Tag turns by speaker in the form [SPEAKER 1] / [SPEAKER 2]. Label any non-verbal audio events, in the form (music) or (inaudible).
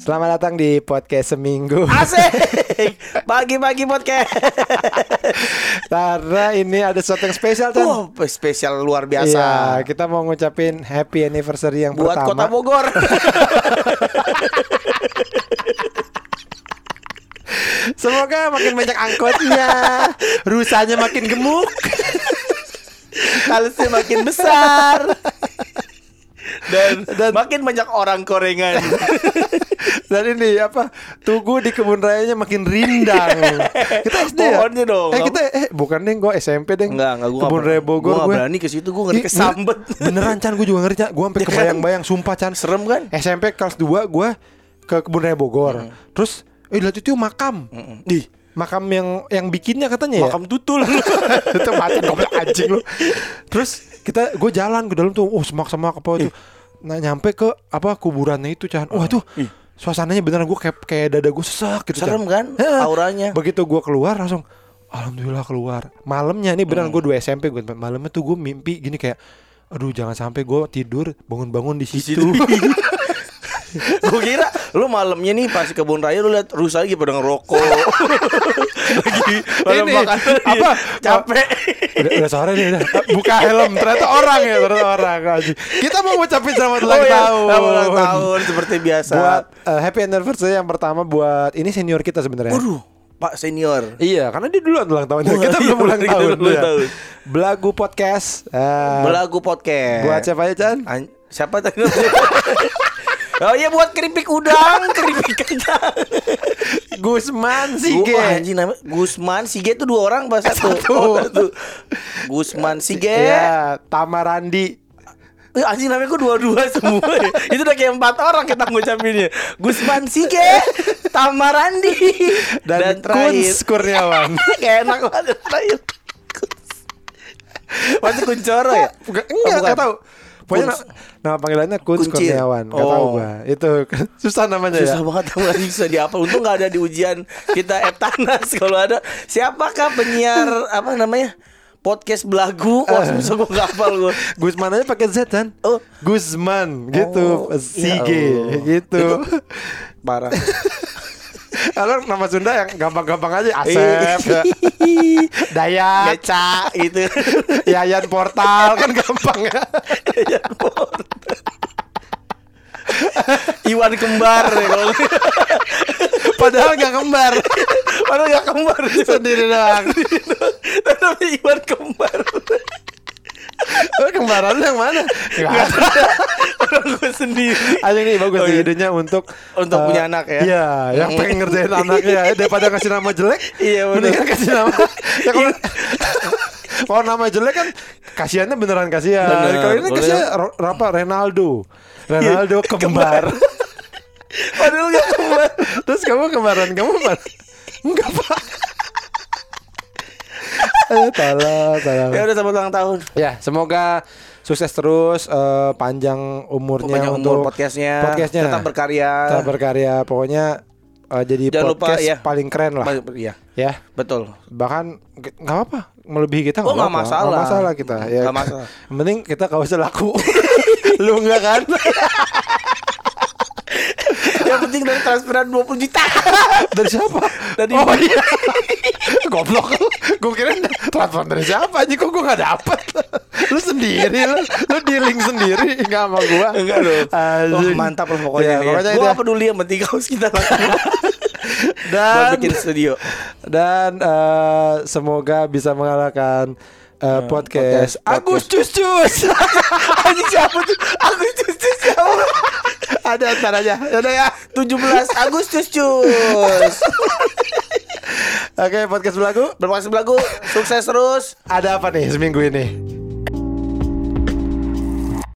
[SPEAKER 1] Selamat datang di podcast seminggu.
[SPEAKER 2] Asik. Pagi-pagi podcast.
[SPEAKER 1] (laughs) Karena ini ada sesuatu yang spesial Chan.
[SPEAKER 2] Wow, spesial luar
[SPEAKER 1] Iya,
[SPEAKER 2] biasa.
[SPEAKER 1] kita mau ngucapin happy anniversary yang
[SPEAKER 2] Buat kota
[SPEAKER 1] pertama.
[SPEAKER 2] Bogor.
[SPEAKER 1] Semoga makin banyak angkotnya, rusanya makin gemuk.
[SPEAKER 2] Halusnya makin besar. Dan, makin banyak orang korengan.
[SPEAKER 1] (laughs) Dan ini apa? Tugu di kebun rayanya makin
[SPEAKER 2] (laughs)
[SPEAKER 1] rindang. Kita SD ya?
[SPEAKER 2] Pohonnya dong.
[SPEAKER 1] Eh kita eh bukan deh, gue SMP deh.
[SPEAKER 2] Enggak, enggak gua
[SPEAKER 1] Kebun
[SPEAKER 2] nggak
[SPEAKER 1] raya
[SPEAKER 2] pernah-
[SPEAKER 1] Bogor
[SPEAKER 2] gua nggak
[SPEAKER 1] gue.
[SPEAKER 2] berani ke situ, gua ngeri kesambet.
[SPEAKER 1] Beneran Chan, gue juga ngeri Chan. Gue sampai
[SPEAKER 2] (laughs) Ya kan?
[SPEAKER 1] kebayang-bayang, sumpah Chan.
[SPEAKER 2] Serem kan?
[SPEAKER 1] SMP kelas 2 gue ke kebun raya Bogor.
[SPEAKER 2] Hmm.
[SPEAKER 1] Terus eh lihat itu makam.
[SPEAKER 2] Di
[SPEAKER 1] Makam yang yang bikinnya katanya ya.
[SPEAKER 2] Hmm. makam tutul.
[SPEAKER 1] (laughs) itu macan goblok anjing lu. Terus kita gue jalan ke dalam tuh, oh semak-semak apa itu. Nah, nyampe ke apa kuburannya itu, Chan.
[SPEAKER 2] Ah,
[SPEAKER 1] Wah, tuh suasananya beneran gue kayak kayak dada gue sesak gitu.
[SPEAKER 2] Serem
[SPEAKER 1] Chan.
[SPEAKER 2] kan?
[SPEAKER 1] Heeh.
[SPEAKER 2] Auranya.
[SPEAKER 1] Begitu gue keluar langsung Alhamdulillah keluar Malamnya nih beneran
[SPEAKER 2] Hmm.
[SPEAKER 1] gue 2 SMP gue Malamnya tuh gue mimpi gini kayak Aduh jangan sampai gue tidur bangun-bangun di
[SPEAKER 2] (laughs)
[SPEAKER 1] situ.
[SPEAKER 2] Gue kira lu malamnya nih pas kebun raya lu lihat rusa lagi pada ngerokok.
[SPEAKER 1] (laughs)
[SPEAKER 2] lagi pada
[SPEAKER 1] Ini,
[SPEAKER 2] makan
[SPEAKER 1] apa?
[SPEAKER 2] capek.
[SPEAKER 1] (laughs) udah, udah sore nih udah. Buka helm ternyata orang ya ternyata orang anjing. Kita mau ngucapin selamat ulang
[SPEAKER 2] Oh iya,
[SPEAKER 1] tahun.
[SPEAKER 2] selamat ulang tahun seperti biasa.
[SPEAKER 1] buat uh, happy anniversary yang pertama buat ini senior kita sebenarnya.
[SPEAKER 2] Waduh, Pak senior.
[SPEAKER 1] Iya, karena dia duluan ulang tahun.
[SPEAKER 2] Wah,
[SPEAKER 1] kita
[SPEAKER 2] iya,
[SPEAKER 1] belum ulang
[SPEAKER 2] kita
[SPEAKER 1] tahun.
[SPEAKER 2] belum ulang
[SPEAKER 1] iya.
[SPEAKER 2] tahun.
[SPEAKER 1] Belagu podcast. eh,
[SPEAKER 2] Belagu podcast.
[SPEAKER 1] buat siapa ya, Chan?
[SPEAKER 2] An- siapa tadi? (laughs) Oh iya buat keripik udang, keripik kacang.
[SPEAKER 1] Gusman
[SPEAKER 2] Sige.
[SPEAKER 1] Sige.
[SPEAKER 2] anjing namanya Gusman Sige itu dua orang bahasa satu.
[SPEAKER 1] Satu.
[SPEAKER 2] Oh, satu. Gusman Sige.
[SPEAKER 1] Iya, Tamarandi.
[SPEAKER 2] Eh, Anjing namanya kok dua-dua (laughs) semua ya? Itu udah kayak empat orang kita ngucapinnya Gusman (laughs) Sige Tamarandi
[SPEAKER 1] Dan,
[SPEAKER 2] terakhir
[SPEAKER 1] Kunz Kurniawan.
[SPEAKER 2] (laughs) Kayak enak banget yang terakhir Kunz. (laughs) Masih Kuncoro ya?
[SPEAKER 1] Bukan, (laughs) enggak,
[SPEAKER 2] bukan.
[SPEAKER 1] enggak tahu. Pokoknya
[SPEAKER 2] Kunz.
[SPEAKER 1] na- nama panggilannya Kunz
[SPEAKER 2] Kuncir.
[SPEAKER 1] Kurniawan. Enggak tahu
[SPEAKER 2] Oh.
[SPEAKER 1] gua. Itu (laughs) susah namanya ya.
[SPEAKER 2] Susah banget tahu lagi susah dihafal. Untung nggak ada di ujian kita Eptanas kalau ada. Siapakah penyiar apa namanya? Podcast belagu. Wah, susah gue nggak hafal gue.
[SPEAKER 1] Gusman aja pakai Z kan?
[SPEAKER 2] Oh.
[SPEAKER 1] Gusman gitu,
[SPEAKER 2] Oh,
[SPEAKER 1] Sige
[SPEAKER 2] ya Allah.
[SPEAKER 1] gitu. (laughs)
[SPEAKER 2] Parah.
[SPEAKER 1] Kalau nama Sunda yang gampang-gampang aja Asep,
[SPEAKER 2] (laughs)
[SPEAKER 1] ya. Dayat,
[SPEAKER 2] Geca gitu. (laughs)
[SPEAKER 1] Yayan Portal kan gampang ya.
[SPEAKER 2] Ya, Bor. Iwan kembar ya kalau
[SPEAKER 1] Padahal nggak kembar,
[SPEAKER 2] Padahal nggak kembar
[SPEAKER 1] (laughs) sendiri doang.
[SPEAKER 2] Tapi Iwan kembar
[SPEAKER 1] Oh, Kembaran lu yang mana? Nggak ada.
[SPEAKER 2] Orang gue sendiri
[SPEAKER 1] Aja nih bagus
[SPEAKER 2] Oh,
[SPEAKER 1] nih
[SPEAKER 2] iya.
[SPEAKER 1] idenya untuk
[SPEAKER 2] Untuk
[SPEAKER 1] eh,
[SPEAKER 2] punya anak ya?
[SPEAKER 1] Iya, yang pengen
[SPEAKER 2] (laughs)
[SPEAKER 1] ngerjain anaknya ya. daripada kasih nama jelek.
[SPEAKER 2] Iya, bener.
[SPEAKER 1] mendingan kasih nama.
[SPEAKER 2] (laughs)
[SPEAKER 1] ya kalau (laughs) kalau nama jelek kan kasihannya beneran kasihan.
[SPEAKER 2] Bener. Iya,
[SPEAKER 1] Kalau ini
[SPEAKER 2] Kalau
[SPEAKER 1] kasih apa Ronaldo.
[SPEAKER 2] (laughs)
[SPEAKER 1] Ronaldo kembar.
[SPEAKER 2] Padahal nggak kembar
[SPEAKER 1] (laughs) Terus kamu kembaran kamu apa? Enggak pak.
[SPEAKER 2] (laughs)
[SPEAKER 1] Eh, salah, salah.
[SPEAKER 2] Ya udah selamat ulang tahun
[SPEAKER 1] Ya, semoga sukses terus eh, panjang umurnya
[SPEAKER 2] Punya
[SPEAKER 1] untuk
[SPEAKER 2] umur podcastnya,
[SPEAKER 1] podcastnya.
[SPEAKER 2] Tetap berkarya
[SPEAKER 1] Tetap berkarya. Pokoknya eh, jadi
[SPEAKER 2] Jangan lupa,
[SPEAKER 1] podcast
[SPEAKER 2] ya.
[SPEAKER 1] paling keren lah.
[SPEAKER 2] Ba- Iya
[SPEAKER 1] ya,
[SPEAKER 2] Betul
[SPEAKER 1] bahkan ke- nggak apa-apa melebihi kita nggak
[SPEAKER 2] Oh, nggak
[SPEAKER 1] apa-apa.
[SPEAKER 2] masalah.
[SPEAKER 1] Nggak masalah kita. Ya,
[SPEAKER 2] Nggak masalah.
[SPEAKER 1] Yang penting kita kau usah
[SPEAKER 2] (laughs)
[SPEAKER 1] laku. Lu nggak kan?
[SPEAKER 2] Yang penting dari transferan 20 juta
[SPEAKER 1] Dari siapa?
[SPEAKER 2] Dari-
[SPEAKER 1] oh iya. (laughs) Goblok Gue kira transfer dari siapa aja Kok gue gak dapet Lu sendiri Lu, lu dealing sendiri Gak sama gue
[SPEAKER 2] Enggak dong Wah,
[SPEAKER 1] Anjing.
[SPEAKER 2] Mantap lah
[SPEAKER 1] Ya,
[SPEAKER 2] pokoknya,
[SPEAKER 1] pokoknya
[SPEAKER 2] ya, Gue
[SPEAKER 1] itu ya.
[SPEAKER 2] nggak peduli yang penting kaos kita lakukan Buat
[SPEAKER 1] Dan
[SPEAKER 2] bikin studio
[SPEAKER 1] Dan eh, Semoga bisa mengalahkan eh, podcast,
[SPEAKER 2] podcast.
[SPEAKER 1] Agus Cus Cus (laughs)
[SPEAKER 2] Anjing (laughs) siapa tuh Agustus tuh siapa
[SPEAKER 1] Ada antaranya Yaudah ya
[SPEAKER 2] 17 Agustus cus
[SPEAKER 1] Oke podcast belagu
[SPEAKER 2] Berpaksa belagu Sukses terus
[SPEAKER 1] Ada apa nih seminggu ini